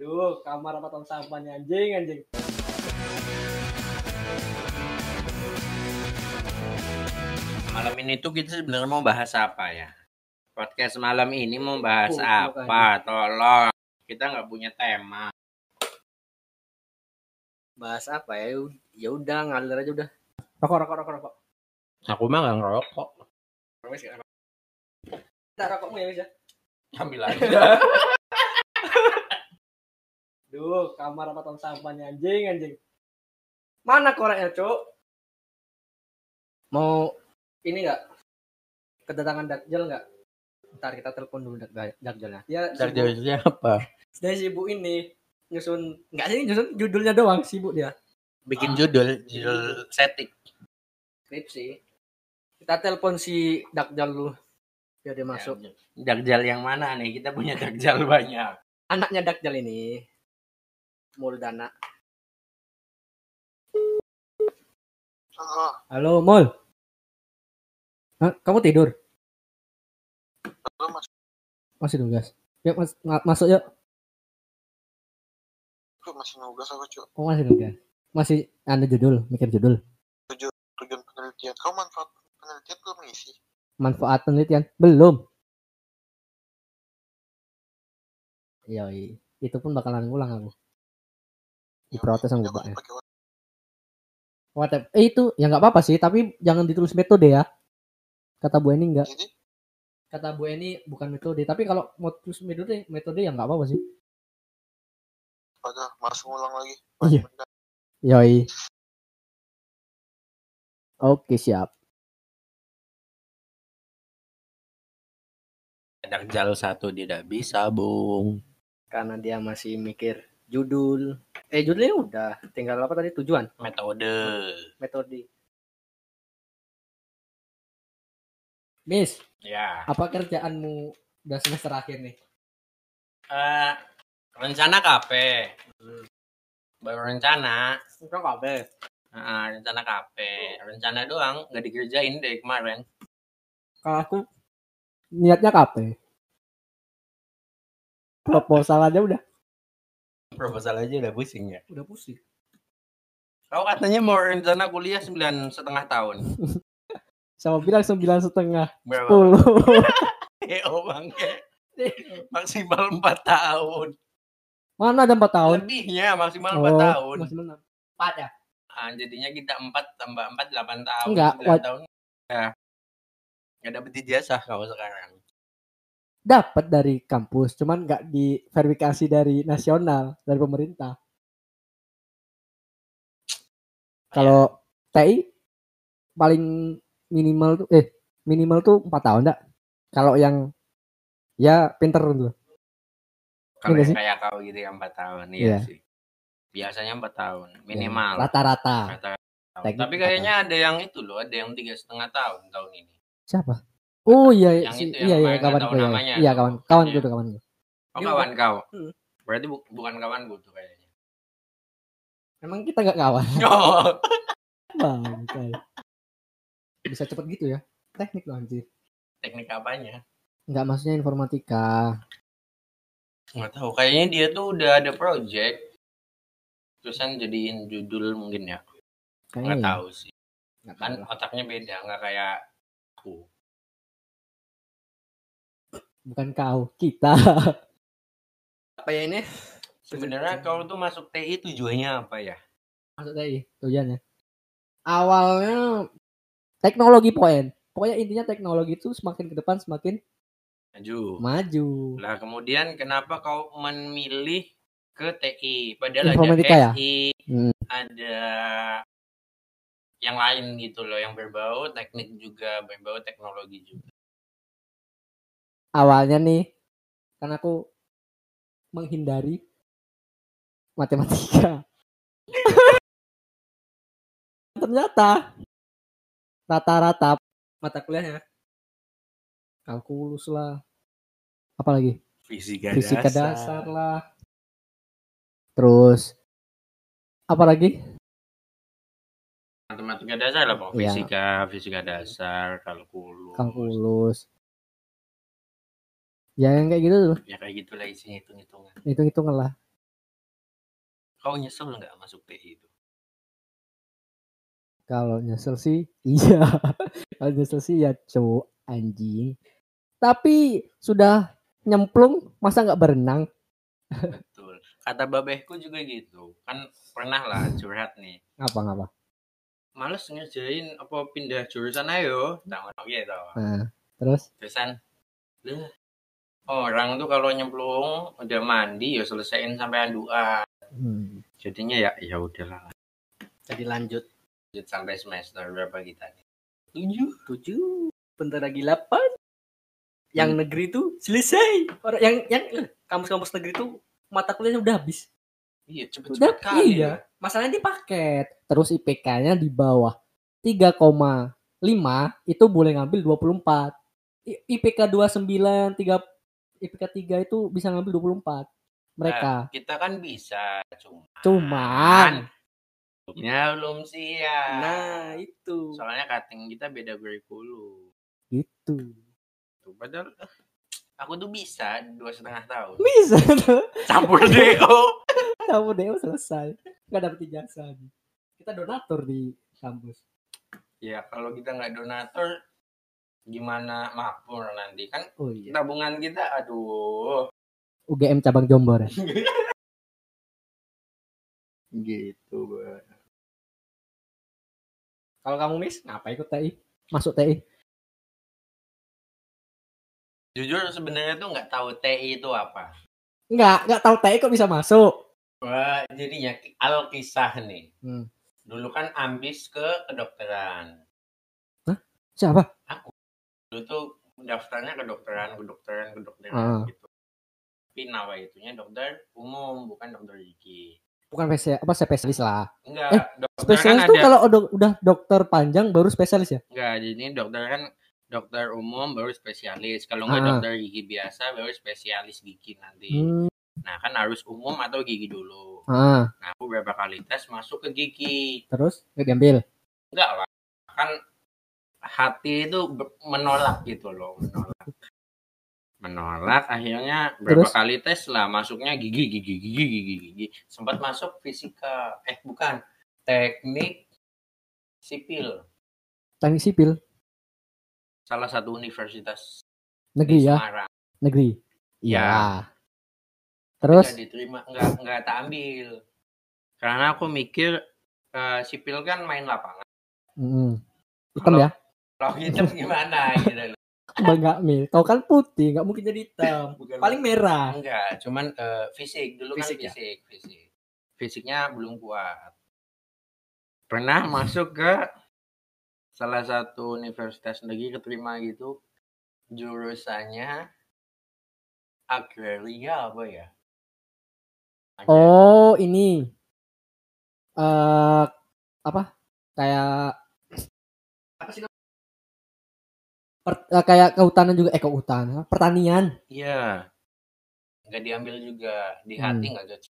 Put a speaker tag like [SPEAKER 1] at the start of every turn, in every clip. [SPEAKER 1] Duh, kamar apa tong sampahnya anjing anjing.
[SPEAKER 2] Malam ini tuh kita sebenarnya mau bahas apa ya? Podcast malam ini mau bahas
[SPEAKER 1] Oh,
[SPEAKER 2] apa? Tolong. Kita nggak punya tema.
[SPEAKER 1] Bahas apa ya? Ya udah ngalir aja udah. Rokok rokok rokok rokok.
[SPEAKER 2] Aku mah nggak ngerokok.
[SPEAKER 1] Entar rokokmu ya bisa.
[SPEAKER 2] Ambil aja.
[SPEAKER 1] Duh, kamar apa tong sampahnya anjing anjing. Mana koreknya, Cuk? Mau ini enggak? Kedatangan Dakjal enggak? Ntar kita telepon dulu Dak- Dakjalnya. Dia sibuk-
[SPEAKER 2] apa?
[SPEAKER 1] dia sibuk ini nyusun enggak sih nyusun judulnya doang sibuk dia.
[SPEAKER 2] Bikin judul, judul setting.
[SPEAKER 1] skripsi kita telepon si Dakjal lu biar dia masuk
[SPEAKER 2] Dagjal yang mana nih? Kita punya dagjal banyak.
[SPEAKER 1] anaknya Dakjal ini Muldana
[SPEAKER 3] Oh,
[SPEAKER 1] halo Mul Hah, kamu tidur
[SPEAKER 3] lu masuk
[SPEAKER 1] masih tugas yuk mas- ma- masuk yuk
[SPEAKER 3] Gua masih nugas aku cuy
[SPEAKER 1] oh, masih tugas masih ada judul mikir judul
[SPEAKER 3] tujuan penelitian kau manfaat penelitian belum ngisi
[SPEAKER 1] manfaat penelitian belum Yoi, itu pun bakalan ulang aku Diprotes sama
[SPEAKER 3] Jangan
[SPEAKER 1] bapaknya.
[SPEAKER 3] kan pakai wa-
[SPEAKER 1] WhatsApp eh, itu ya nggak apa-apa sih tapi jangan ditulis metode ya kata Bu Eni nggak
[SPEAKER 3] jadi
[SPEAKER 1] kata Bu Eni bukan metode tapi kalau mau terus metode metode ya nggak apa-apa sih
[SPEAKER 3] pada masuk ulang lagi
[SPEAKER 1] Iya.
[SPEAKER 3] Benda.
[SPEAKER 1] yoi oke siap
[SPEAKER 2] Dagjal satu tidak bisa, Bung.
[SPEAKER 1] karena dia masih mikir judul eh judulnya udah tinggal apa tadi tujuan
[SPEAKER 2] Metode.
[SPEAKER 1] metode Miss
[SPEAKER 2] Ya.
[SPEAKER 1] apa kerjaanmu udah semester akhir nih
[SPEAKER 2] Eh, rencana kafe. Baru rencana.
[SPEAKER 1] enggak apa
[SPEAKER 2] Ah, rencana kafe. Rencana doang, nggak dikerjain dari kemarin.
[SPEAKER 1] kalau aku niatnya kape proposal aja udah
[SPEAKER 2] Proposal aja udah pusing ya.
[SPEAKER 1] udah pusing
[SPEAKER 2] Kau katanya mau rencana kuliah sembilan setengah tahun.
[SPEAKER 1] sama bilang sembilan setengah
[SPEAKER 2] Berapa?
[SPEAKER 1] puluh
[SPEAKER 2] EO bangke. ya. Maksimal empat tahun.
[SPEAKER 1] mana ada empat tahun Oh.
[SPEAKER 2] Lebihnya maksimal empat tahun.
[SPEAKER 1] masih menang. Empat ya?
[SPEAKER 2] Ah, jadinya kita empat tambah empat delapan tahun.
[SPEAKER 1] Enggak,
[SPEAKER 2] sembilan
[SPEAKER 1] waj-
[SPEAKER 2] tahun. Ya. Nggak dapet ijazah kau sekarang.
[SPEAKER 1] Dapat dari kampus, cuman nggak diverifikasi dari nasional, dari pemerintah. Kalau
[SPEAKER 2] Iya.
[SPEAKER 1] TI paling minimal tuh eh minimal tuh empat tahun enggak? Kalau yang ya pinter dulu.
[SPEAKER 2] Kalau
[SPEAKER 1] Iya
[SPEAKER 2] yang
[SPEAKER 1] sih?
[SPEAKER 2] kayak kau gitu yang empat tahun, iya
[SPEAKER 1] Iya.
[SPEAKER 2] sih. Biasanya empat tahun minimal.
[SPEAKER 1] Rata-rata.
[SPEAKER 2] Rata-rata.
[SPEAKER 1] Teknik
[SPEAKER 2] Tapi
[SPEAKER 1] empat
[SPEAKER 2] kayaknya ada yang itu loh, ada yang tiga setengah tahun tahun ini.
[SPEAKER 1] Siapa? Oh iya,
[SPEAKER 2] Yang
[SPEAKER 1] si-
[SPEAKER 2] itu yang
[SPEAKER 1] iya iya
[SPEAKER 2] kemarin nggak
[SPEAKER 1] kawan
[SPEAKER 2] tahu
[SPEAKER 1] gue. iya.
[SPEAKER 2] namanya
[SPEAKER 1] Iya
[SPEAKER 2] tuh.
[SPEAKER 1] kawan, kawan gue
[SPEAKER 2] Iya.
[SPEAKER 1] tuh kawan gitu. gue.
[SPEAKER 2] Oh
[SPEAKER 1] Dia
[SPEAKER 2] kawan kau.
[SPEAKER 1] Hmm.
[SPEAKER 2] Berarti bu- bukan kawan gue tuh kayaknya.
[SPEAKER 1] Emang kita nggak kawan,
[SPEAKER 2] Oh,
[SPEAKER 1] bangkai. Bisa cepet gitu ya? Teknik loh anjir.
[SPEAKER 2] teknik apanya?
[SPEAKER 1] Enggak maksudnya informatika.
[SPEAKER 2] Nggak tahu. Kayaknya dia tuh udah ada project. Terusan jadiin judul mungkin ya.
[SPEAKER 1] Kayaknya
[SPEAKER 2] Nggak
[SPEAKER 1] ya.
[SPEAKER 2] tahu sih.
[SPEAKER 1] Nggak tahu
[SPEAKER 2] Kan
[SPEAKER 1] lah.
[SPEAKER 2] otaknya beda, nggak kayak aku.
[SPEAKER 1] Bukan kau, kita. Apa ya ini?
[SPEAKER 2] Sebenarnya kau tuh masuk TI tujuannya apa ya?
[SPEAKER 1] Maksud tadi tujuannya. Awalnya teknologi poin. Pokoknya intinya teknologi itu semakin ke depan semakin
[SPEAKER 2] Maju.
[SPEAKER 1] maju.
[SPEAKER 2] Lah kemudian kenapa kau memilih ke TI? Padahal
[SPEAKER 1] Informatika ya?
[SPEAKER 2] ada SI,
[SPEAKER 1] Hmm.
[SPEAKER 2] ada yang lain gitu loh yang berbau teknik juga, berbau teknologi juga.
[SPEAKER 1] Awalnya nih karena aku menghindari matematika. Ternyata rata-rata mata kuliahnya kalkulus lah. Apalagi?
[SPEAKER 2] Fisika,
[SPEAKER 1] fisika dasar lah terus apa lagi
[SPEAKER 2] Matematika dasar lah, Pak.
[SPEAKER 1] Iya.
[SPEAKER 2] Fisika, fisika dasar, kalkulus.
[SPEAKER 1] kalkulus ya yang kayak gitu tuh
[SPEAKER 2] Ya kayak gitulah isinya hitung-hitungan.
[SPEAKER 1] hitung hitungan lah
[SPEAKER 2] Kau nyesel nggak masuk TI itu?
[SPEAKER 1] Kalau nyesel sih, iya. Kalau nyesel sih ya cowok anjing. Tapi sudah nyemplung, masa nggak berenang?
[SPEAKER 2] Betul. Kata babehku juga gitu. Kan pernah lah curhat nih.
[SPEAKER 1] Ngapa-ngapa?
[SPEAKER 2] Males ngerjain apa pindah jurusan ayo. Nah, ngono gitu.
[SPEAKER 1] Nah, terus?
[SPEAKER 2] Terusan "Lah, orang tuh kalau nyemplung udah mandi ya selesaiin sampai anduan.
[SPEAKER 1] Hmm.
[SPEAKER 2] Jadinya ya ya udahlah.
[SPEAKER 4] Jadi lanjut.
[SPEAKER 2] Lanjut sampai semester berapa kita nih? Tujuh.
[SPEAKER 4] Tujuh. Bentar lagi delapan. Yang
[SPEAKER 1] Hmm.
[SPEAKER 4] negeri itu selesai. Orang yang yang eh, kampus-kampus negeri itu mata kuliahnya udah habis.
[SPEAKER 1] Udah,
[SPEAKER 2] Iya cepet-cepet kali.
[SPEAKER 1] iya.
[SPEAKER 2] ya.
[SPEAKER 4] Masalahnya di pak.
[SPEAKER 1] Paket. Terus IPK-nya di bawah 3,5 itu boleh ngambil 24. I- IPK 29, 3 IPK 3 itu bisa ngambil 24. Mereka
[SPEAKER 2] Kita kan bisa cuma.
[SPEAKER 1] cuman
[SPEAKER 2] Ya belum siap.
[SPEAKER 4] Nah, itu.
[SPEAKER 2] Soalnya cutting kita beda kurikulum.
[SPEAKER 1] gitu.
[SPEAKER 2] Tuh, padahal eh, aku tuh bisa dua setengah tahun.
[SPEAKER 1] Bisa tuh.
[SPEAKER 2] Campur oh. DO.
[SPEAKER 1] Kamu Dewa selesai. Gak dapet ijazah. Kita donatur di kampus.
[SPEAKER 2] Ya kalau kita nggak donatur gimana makmur nanti kan
[SPEAKER 1] Oh iya.
[SPEAKER 2] tabungan kita aduh
[SPEAKER 1] UGM cabang Jombor. ya?
[SPEAKER 2] gitu
[SPEAKER 1] Kalau kamu Miss, ngapa ikut TI? Masuk TI.
[SPEAKER 2] jujur sebenarnya tuh nggak tahu TI itu apa
[SPEAKER 1] Enggak, enggak tahu TI kok bisa masuk.
[SPEAKER 2] Wah, jadinya al kisah nih
[SPEAKER 1] Hmm.
[SPEAKER 2] dulu kan ambis ke kedokteran
[SPEAKER 1] Siapa?
[SPEAKER 2] dulu tuh daftarnya kedokteran kedokteran kedokteran
[SPEAKER 1] Ah.
[SPEAKER 2] gitu tapi nawa itunya dokter umum bukan dokter gigi
[SPEAKER 1] Bukan spesialis, apa spesialis lah.
[SPEAKER 2] Enggak,
[SPEAKER 1] Eh,
[SPEAKER 2] dokter
[SPEAKER 1] Spesialis
[SPEAKER 2] kan
[SPEAKER 1] tuh
[SPEAKER 2] Nah, ada.
[SPEAKER 1] kalau udah, udah dokter panjang baru spesialis ya.
[SPEAKER 2] Enggak, jadi dokter kan dokter umum baru spesialis. Kalau enggak
[SPEAKER 1] Ah.
[SPEAKER 2] dokter gigi biasa baru spesialis gigi nanti.
[SPEAKER 1] Hmm.
[SPEAKER 2] Nah, kan harus umum atau gigi dulu.
[SPEAKER 1] Ah,
[SPEAKER 2] Nah, aku berapa kali tes masuk ke gigi.
[SPEAKER 1] terus nggak diambil.
[SPEAKER 2] Enggak lah. Kan hati itu ber- menolak gitu loh, menolak. Menolak akhirnya berapa
[SPEAKER 1] Terus?
[SPEAKER 2] kali tes lah masuknya gigi gigi gigi gigi gigi. Sempat masuk fisika. Eh, bukan. Teknik sipil.
[SPEAKER 1] Teknik sipil
[SPEAKER 2] salah satu universitas
[SPEAKER 1] negeri
[SPEAKER 2] di
[SPEAKER 1] ya,
[SPEAKER 2] Semarang.
[SPEAKER 1] negeri. Ah.
[SPEAKER 2] Ya.
[SPEAKER 1] Terus
[SPEAKER 2] Nggak diterima, nggak nggak tak ambil. Karena aku mikir eh, sipil kan main lapangan.
[SPEAKER 1] mm, hitam ya.
[SPEAKER 2] Kalau hitam gimana gitu loh.
[SPEAKER 1] Enggak, Mil. Kau kan putih, nggak mungkin jadi hitam.
[SPEAKER 2] Bukan
[SPEAKER 1] Paling merah.
[SPEAKER 2] enggak, cuman eh, fisik dulu
[SPEAKER 4] Fisik ya?
[SPEAKER 2] kan fisik, fisik. Fisiknya belum kuat. Pernah masuk ke salah satu universitas negeri keterima gitu jurusannya agraria apa ya?
[SPEAKER 1] Oh, ini. Eh apa? Kayak
[SPEAKER 4] Apa sih
[SPEAKER 1] per- eh, kayak kehutanan juga eh kehutanan, pertanian.
[SPEAKER 2] Iya. Nggak diambil juga. Di
[SPEAKER 1] Hmm.
[SPEAKER 2] hati nggak cocok.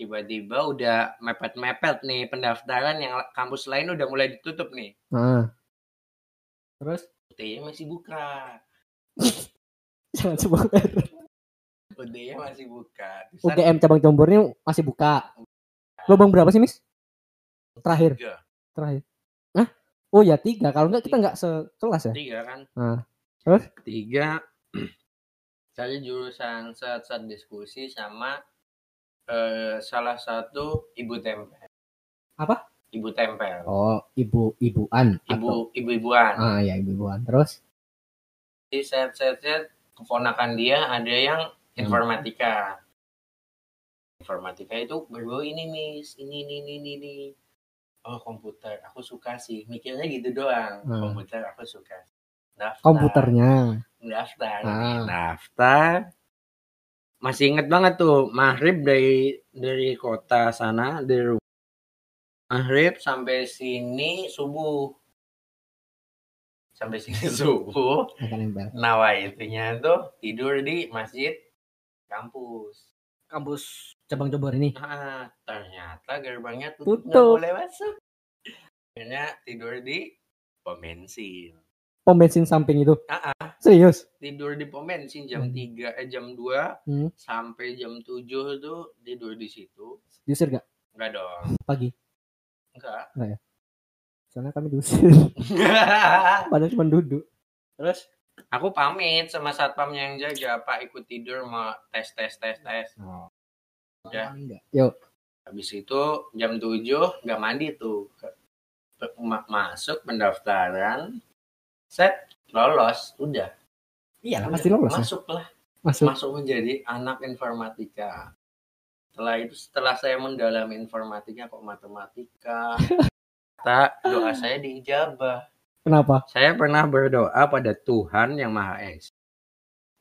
[SPEAKER 2] Tiba-tiba udah mepet-mepet nih pendaftaran yang la- kampus lain udah mulai ditutup nih.
[SPEAKER 1] Nah. Terus
[SPEAKER 2] UTY masih buka.
[SPEAKER 1] jangan sebut
[SPEAKER 2] UTY masih buka. Terus
[SPEAKER 1] UGM cabang Jombor ini masih buka. Lubang berapa sih, Miss? Terakhir,
[SPEAKER 2] Tiga.
[SPEAKER 1] terakhir. Hah? Oh ya tiga. Kalau enggak kita nggak sekelas ya.
[SPEAKER 2] Tiga kan.
[SPEAKER 1] Ah. Terus?
[SPEAKER 2] Tiga. Saya jurusan saat-saat diskusi sama eh, salah satu ibu tempel.
[SPEAKER 1] Apa?
[SPEAKER 2] Ibu tempel.
[SPEAKER 1] Oh, ibu ibuan. atau-
[SPEAKER 2] Ibu ibu-ibuan.
[SPEAKER 1] Ah ya ibu ibuan. Terus?
[SPEAKER 2] di set set set keponakan dia ada yang
[SPEAKER 1] Hmm.
[SPEAKER 2] informatika informatika itu baru ini miss ini ini ini ini, ini oh komputer aku suka sih mikirnya gitu doang
[SPEAKER 1] Hmm.
[SPEAKER 2] komputer aku suka daftar
[SPEAKER 1] Komputernya.
[SPEAKER 2] daftar
[SPEAKER 4] Nah.
[SPEAKER 1] Ah.
[SPEAKER 2] daftar masih inget banget tuh maghrib dari dari kota sana dari rumah maghrib sampai sini subuh sampai sini subuh
[SPEAKER 1] Akan Ah, nempel.
[SPEAKER 2] Nawa itunya tuh tidur di masjid kampus.
[SPEAKER 4] kampus
[SPEAKER 1] Cabang Jombor ini.
[SPEAKER 2] Ah, ternyata gerbangnya tutup, nggak
[SPEAKER 1] Tutup.
[SPEAKER 2] boleh masuk. Akhirnya tidur di pom bensin.
[SPEAKER 1] pom bensin samping itu?
[SPEAKER 2] Ah,
[SPEAKER 1] Serius?
[SPEAKER 2] tidur di pom bensin jam
[SPEAKER 1] Hmm.
[SPEAKER 2] 3 eh jam 2
[SPEAKER 1] Hmm.
[SPEAKER 2] sampai jam 7 tuh tidur di situ.
[SPEAKER 1] Diusir gak
[SPEAKER 2] Enggak dong.
[SPEAKER 1] pagi?
[SPEAKER 2] Enggak.
[SPEAKER 1] Soalnya kami diusir. Padahal cuma duduk.
[SPEAKER 4] Terus
[SPEAKER 2] Aku pamit sama satpam yang jaga, Pak ikut tidur mau tes tes tes tes. Ya.
[SPEAKER 1] Enggak. Yuk.
[SPEAKER 2] Habis itu jam 7 nggak mandi tuh. Ke- pe- ma- Masuk pendaftaran, set lolos, udah.
[SPEAKER 1] Iya,
[SPEAKER 2] Udah,
[SPEAKER 1] pasti lolos. ya?
[SPEAKER 2] Masuk lah,
[SPEAKER 1] Masuk.
[SPEAKER 2] masuk menjadi anak informatika. Setelah itu setelah saya mendalami informatika kok matematika, tak doa saya diijabah.
[SPEAKER 1] Kenapa?
[SPEAKER 2] Saya pernah berdoa pada Tuhan yang Maha Esa.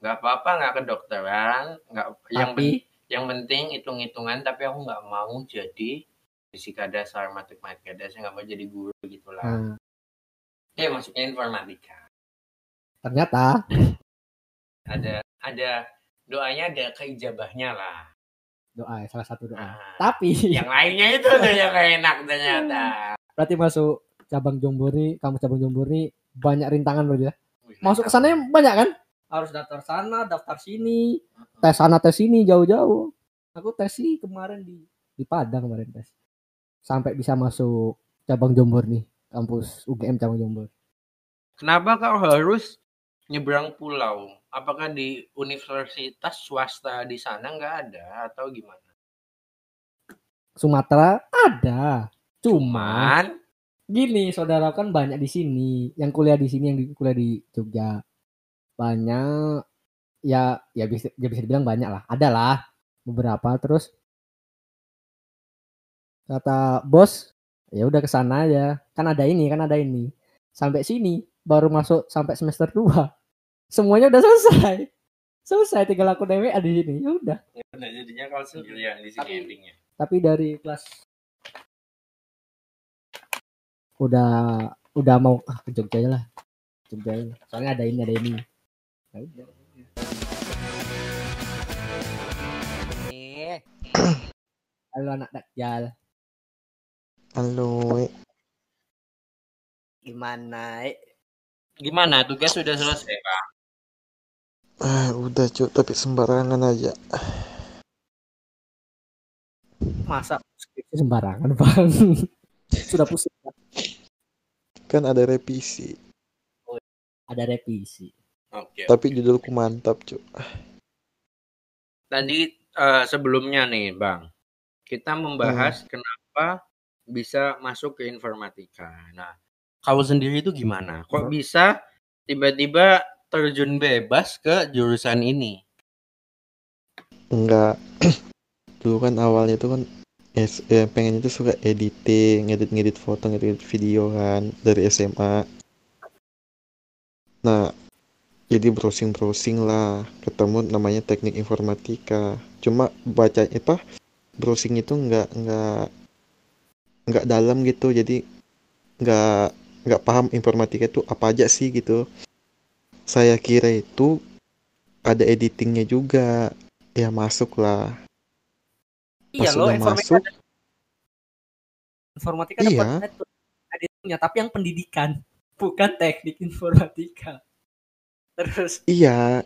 [SPEAKER 2] Nggak apa-apa nggak kedokteran, nggak yang
[SPEAKER 1] Tapi
[SPEAKER 2] pen- yang penting hitung-hitungan tapi aku nggak mau jadi fisika dasar, matematika dasar nggak mau jadi guru gitu
[SPEAKER 1] nah,
[SPEAKER 2] lah. Ya masuknya informatika.
[SPEAKER 1] ternyata
[SPEAKER 2] Ada ada doanya ada keijabahnya lah.
[SPEAKER 1] doa ya, salah satu
[SPEAKER 4] Ah.
[SPEAKER 1] doa.
[SPEAKER 2] Nah,
[SPEAKER 1] Tapi
[SPEAKER 4] Iya.
[SPEAKER 2] yang lainnya itu udah yang nggak enak ternyata.
[SPEAKER 1] berarti masuk cabang Jombori, kamu cabang Jombori banyak rintangan berarti ya. Masuk ke sana banyak kan?
[SPEAKER 4] harus daftar sana, daftar sini.
[SPEAKER 1] Tes sana tes sini jauh-jauh. Aku tes sih kemarin di di Padang kemarin tes. Sampai bisa masuk cabang Jombor nih, kampus UGM cabang Jombor.
[SPEAKER 2] Kenapa kau harus nyebrang pulau? Apakah di universitas swasta di sana nggak ada atau gimana?
[SPEAKER 1] Sumatera ada. Cuma
[SPEAKER 2] Man,
[SPEAKER 1] gini saudara kan banyak di sini yang kuliah di sini yang di- kuliah di Jogja banyak ya ya bisa ya bisa dibilang banyak lah ada lah beberapa terus kata bos ya udah ke sana aja kan ada ini kan ada ini sampai sini baru masuk sampai semester 2 semuanya udah selesai selesai tinggal aku dewe ada di sini ya udah
[SPEAKER 2] udah jadinya kalau sendirian di
[SPEAKER 1] Tapi-
[SPEAKER 2] sini endingnya.
[SPEAKER 1] tapi dari kelas udah udah mau ah, ke Jogja aja lah Jogja aja. soalnya ada ini ada ini Ya udah.
[SPEAKER 4] Eh.
[SPEAKER 1] halo anak dakjal
[SPEAKER 3] Halo,
[SPEAKER 4] Gimana? eh?
[SPEAKER 2] Gimana tugas sudah selesai pak?
[SPEAKER 3] ah, udah cuk, tapi sembarangan aja.
[SPEAKER 4] Masa
[SPEAKER 1] Itu sembarangan bang sudah pusing Bang.
[SPEAKER 3] Kan ada revisi,
[SPEAKER 1] ada revisi
[SPEAKER 2] Oke.
[SPEAKER 3] tapi judulku mantap cuk.
[SPEAKER 2] Tadi eh, sebelumnya nih bang, kita membahas
[SPEAKER 3] Hmm.
[SPEAKER 2] kenapa bisa masuk ke informatika. Nah, kau sendiri itu gimana?
[SPEAKER 3] Hmm.
[SPEAKER 2] Kok bisa tiba-tiba terjun bebas ke jurusan ini?
[SPEAKER 3] Enggak. Dulu kan awalnya itu kan S- eh, pengen itu suka editing, ngedit-ngedit foto, ngedit video kan dari SMA. Nah, jadi browsing-browsing lah, ketemu namanya teknik informatika. Cuma baca apa browsing itu nggak nggak nggak dalam gitu, jadi nggak nggak paham informatika itu apa aja sih gitu. Saya kira itu ada editingnya juga. Ya masuk lah.
[SPEAKER 4] iya
[SPEAKER 3] Pas
[SPEAKER 4] lo
[SPEAKER 3] udah
[SPEAKER 4] informatika
[SPEAKER 3] masuk,
[SPEAKER 4] informatika
[SPEAKER 3] Iya.
[SPEAKER 4] dapat network editingnya tapi yang pendidikan bukan teknik informatika terus
[SPEAKER 3] iya.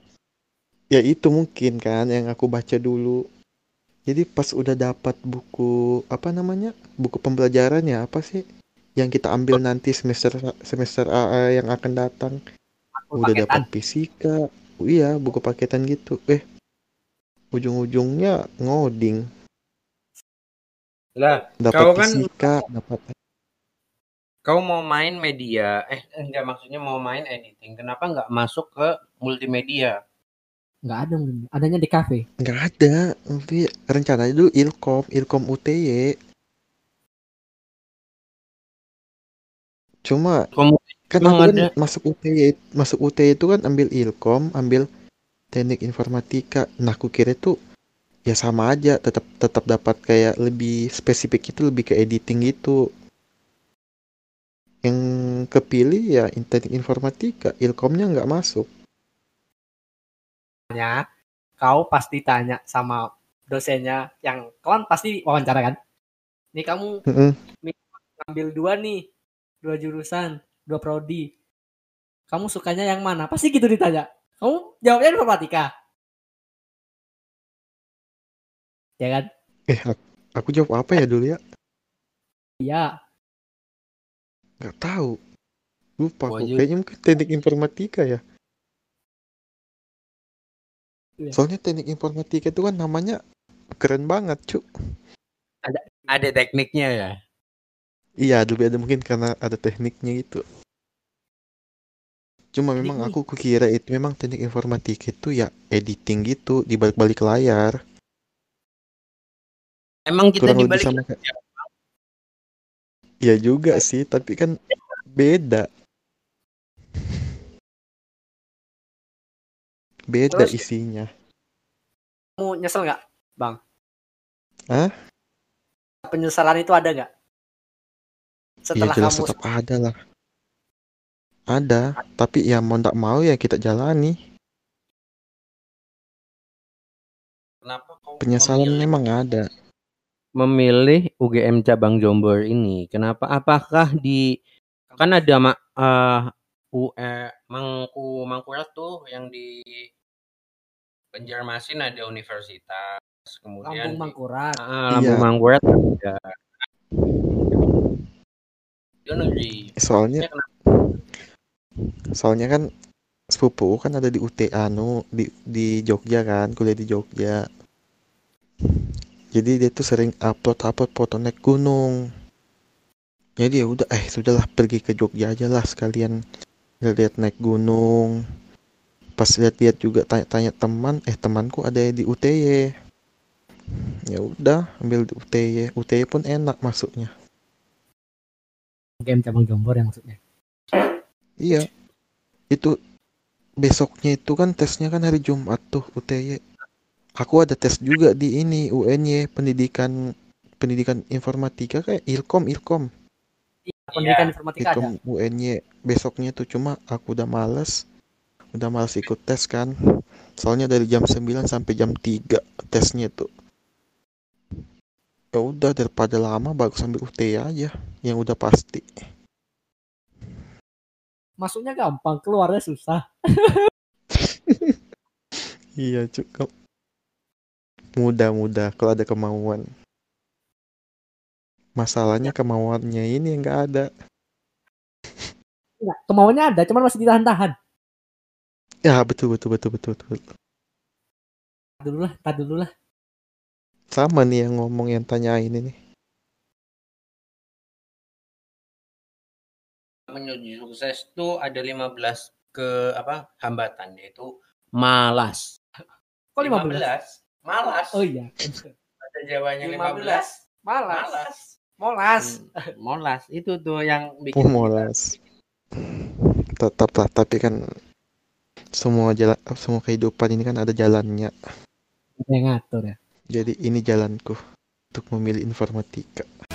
[SPEAKER 3] Ya itu mungkin kan yang aku baca dulu. Jadi pas udah dapat buku apa namanya? Buku pembelajaran ya apa sih? Yang kita ambil nanti semester semester AA yang akan datang.
[SPEAKER 4] aku
[SPEAKER 3] Udah
[SPEAKER 4] paketan
[SPEAKER 3] dapat fisika. Oh Iya, buku paketan gitu. Eh, ujung-ujungnya ngoding.
[SPEAKER 2] Lah,
[SPEAKER 3] Dapat
[SPEAKER 2] Kau kan-
[SPEAKER 3] fisika, dapat
[SPEAKER 2] kau mau main media? Eh, enggak maksudnya mau main editing. Kenapa nggak masuk ke multimedia?
[SPEAKER 1] nggak ada mungkin. adanya di kafe
[SPEAKER 3] nggak ada. Nanti rencananya dulu Ilkom, Ilkom UTY. Cuma
[SPEAKER 2] Kamu
[SPEAKER 3] kan
[SPEAKER 2] Emang
[SPEAKER 3] aku kan
[SPEAKER 2] ada-
[SPEAKER 3] masuk UTY masuk UTY itu kan ambil ilkom ambil teknik informatika nah aku kira itu ya sama aja tetap tetap dapat kayak lebih spesifik itu lebih ke editing gitu yang kepilih ya in- teknik informatika ilkomnya nggak masuk
[SPEAKER 4] Tanya, kau pasti tanya sama dosennya yang kawan pasti wawancara kan ini kamu
[SPEAKER 3] Mm-mm.
[SPEAKER 4] ngambil dua nih dua jurusan dua prodi
[SPEAKER 1] kamu sukanya yang mana? Pasti gitu ditanya. Kamu jawabnya informatika. Ya kan?
[SPEAKER 3] Eh, aku, aku jawab apa ya dulu ya?
[SPEAKER 1] Iya.
[SPEAKER 3] Nggak tahu. Lupa aku.
[SPEAKER 2] Wajib.
[SPEAKER 3] Kayaknya mungkin teknik informatika ya.
[SPEAKER 1] Iya.
[SPEAKER 3] Soalnya teknik informatika itu kan namanya keren banget, cu.
[SPEAKER 2] Ada tekniknya ya.
[SPEAKER 3] Iya, lebih ada mungkin karena ada tekniknya gitu. Cuma memang
[SPEAKER 1] Teknik.
[SPEAKER 3] aku kukira itu memang teknik informatika itu ya editing gitu di balik-balik layar.
[SPEAKER 2] Emang kita
[SPEAKER 3] Kurang lebih
[SPEAKER 2] dibalik
[SPEAKER 3] sama kayak Iya juga sih, tapi kan beda. Beda
[SPEAKER 4] Terus-
[SPEAKER 3] isinya. Ya,
[SPEAKER 4] Kamu nyesel nggak, Bang?
[SPEAKER 3] Hah?
[SPEAKER 4] Penyesalan itu ada nggak?
[SPEAKER 3] Iya
[SPEAKER 4] Setelah
[SPEAKER 3] jelas
[SPEAKER 4] kamu
[SPEAKER 3] tetap ada lah. Ada, tapi ya mau ndak mau ya kita jalani.
[SPEAKER 2] kenapa kau
[SPEAKER 4] Iya.
[SPEAKER 3] Penyesalan
[SPEAKER 2] memilih,
[SPEAKER 3] memang ada.
[SPEAKER 2] memilih UGM cabang Jombor ini? Kenapa? Apakah di kan ada mak UE E, Mangku Mangkurat tuh yang di Banjarmasin ada universitas,
[SPEAKER 1] Kampung
[SPEAKER 2] kemudian di-
[SPEAKER 1] Mangkurat.
[SPEAKER 2] Ah, Lampung
[SPEAKER 3] Iya.
[SPEAKER 2] Mangkurat ada. Itu negeri.
[SPEAKER 3] Soalnya
[SPEAKER 2] Ya, kenapa?
[SPEAKER 3] soalnya kan sepupu kan ada di UT anu di di Jogja kan, kuliah di Jogja. Jadi dia tuh sering upload-upload foto naik gunung. Jadi ya udah eh sudahlah pergi ke Jogja aja lah sekalian lihat naik gunung. Pas lihat-lihat juga tanya-tanya teman, eh temanku ada yang di UTY. Ya udah, ambil di UTY. UTY pun enak masuknya.
[SPEAKER 1] Game cabang Jombor yang maksudnya.
[SPEAKER 3] Iya. Itu besoknya itu kan tesnya kan hari Jumat tuh UTY. Aku ada tes juga di ini UNY pendidikan pendidikan informatika kayak Ilkom Ilkom
[SPEAKER 1] Pendidikan informatika Iya, ada.
[SPEAKER 3] Ilkom UNY besoknya tuh cuma aku udah males udah males ikut tes kan soalnya dari jam 9 sampai jam 3 tesnya tuh ya udah daripada lama bagus ambil UTY aja yang udah pasti
[SPEAKER 1] Masuknya gampang, keluarnya susah.
[SPEAKER 3] Iya cukup mudah-mudah kalau ada kemauan. Masalahnya kemauannya ini yang nggak ada.
[SPEAKER 1] Enggak, kemauannya ada, cuman masih ditahan-tahan.
[SPEAKER 3] Ya betul betul betul betul betul.
[SPEAKER 1] Tahan Dulu lah, tahan dulu lah.
[SPEAKER 3] Sama nih yang ngomong yang tanyain ini.
[SPEAKER 2] menuju sukses tuh ada 15 ke apa hambatan yaitu malas.
[SPEAKER 1] Kok 15?
[SPEAKER 2] Malas.
[SPEAKER 1] Oh iya.
[SPEAKER 2] Ada
[SPEAKER 4] 15.
[SPEAKER 2] jawabannya 15.
[SPEAKER 4] Malas.
[SPEAKER 2] Malas.
[SPEAKER 4] Molas.
[SPEAKER 2] Hmm, Molas itu tuh yang bikin
[SPEAKER 3] Oh molas. Tetap lah tapi kan semua jalan semua kehidupan ini kan ada jalannya.
[SPEAKER 1] Yang ngatur ya.
[SPEAKER 3] Jadi ini jalanku untuk memilih informatika.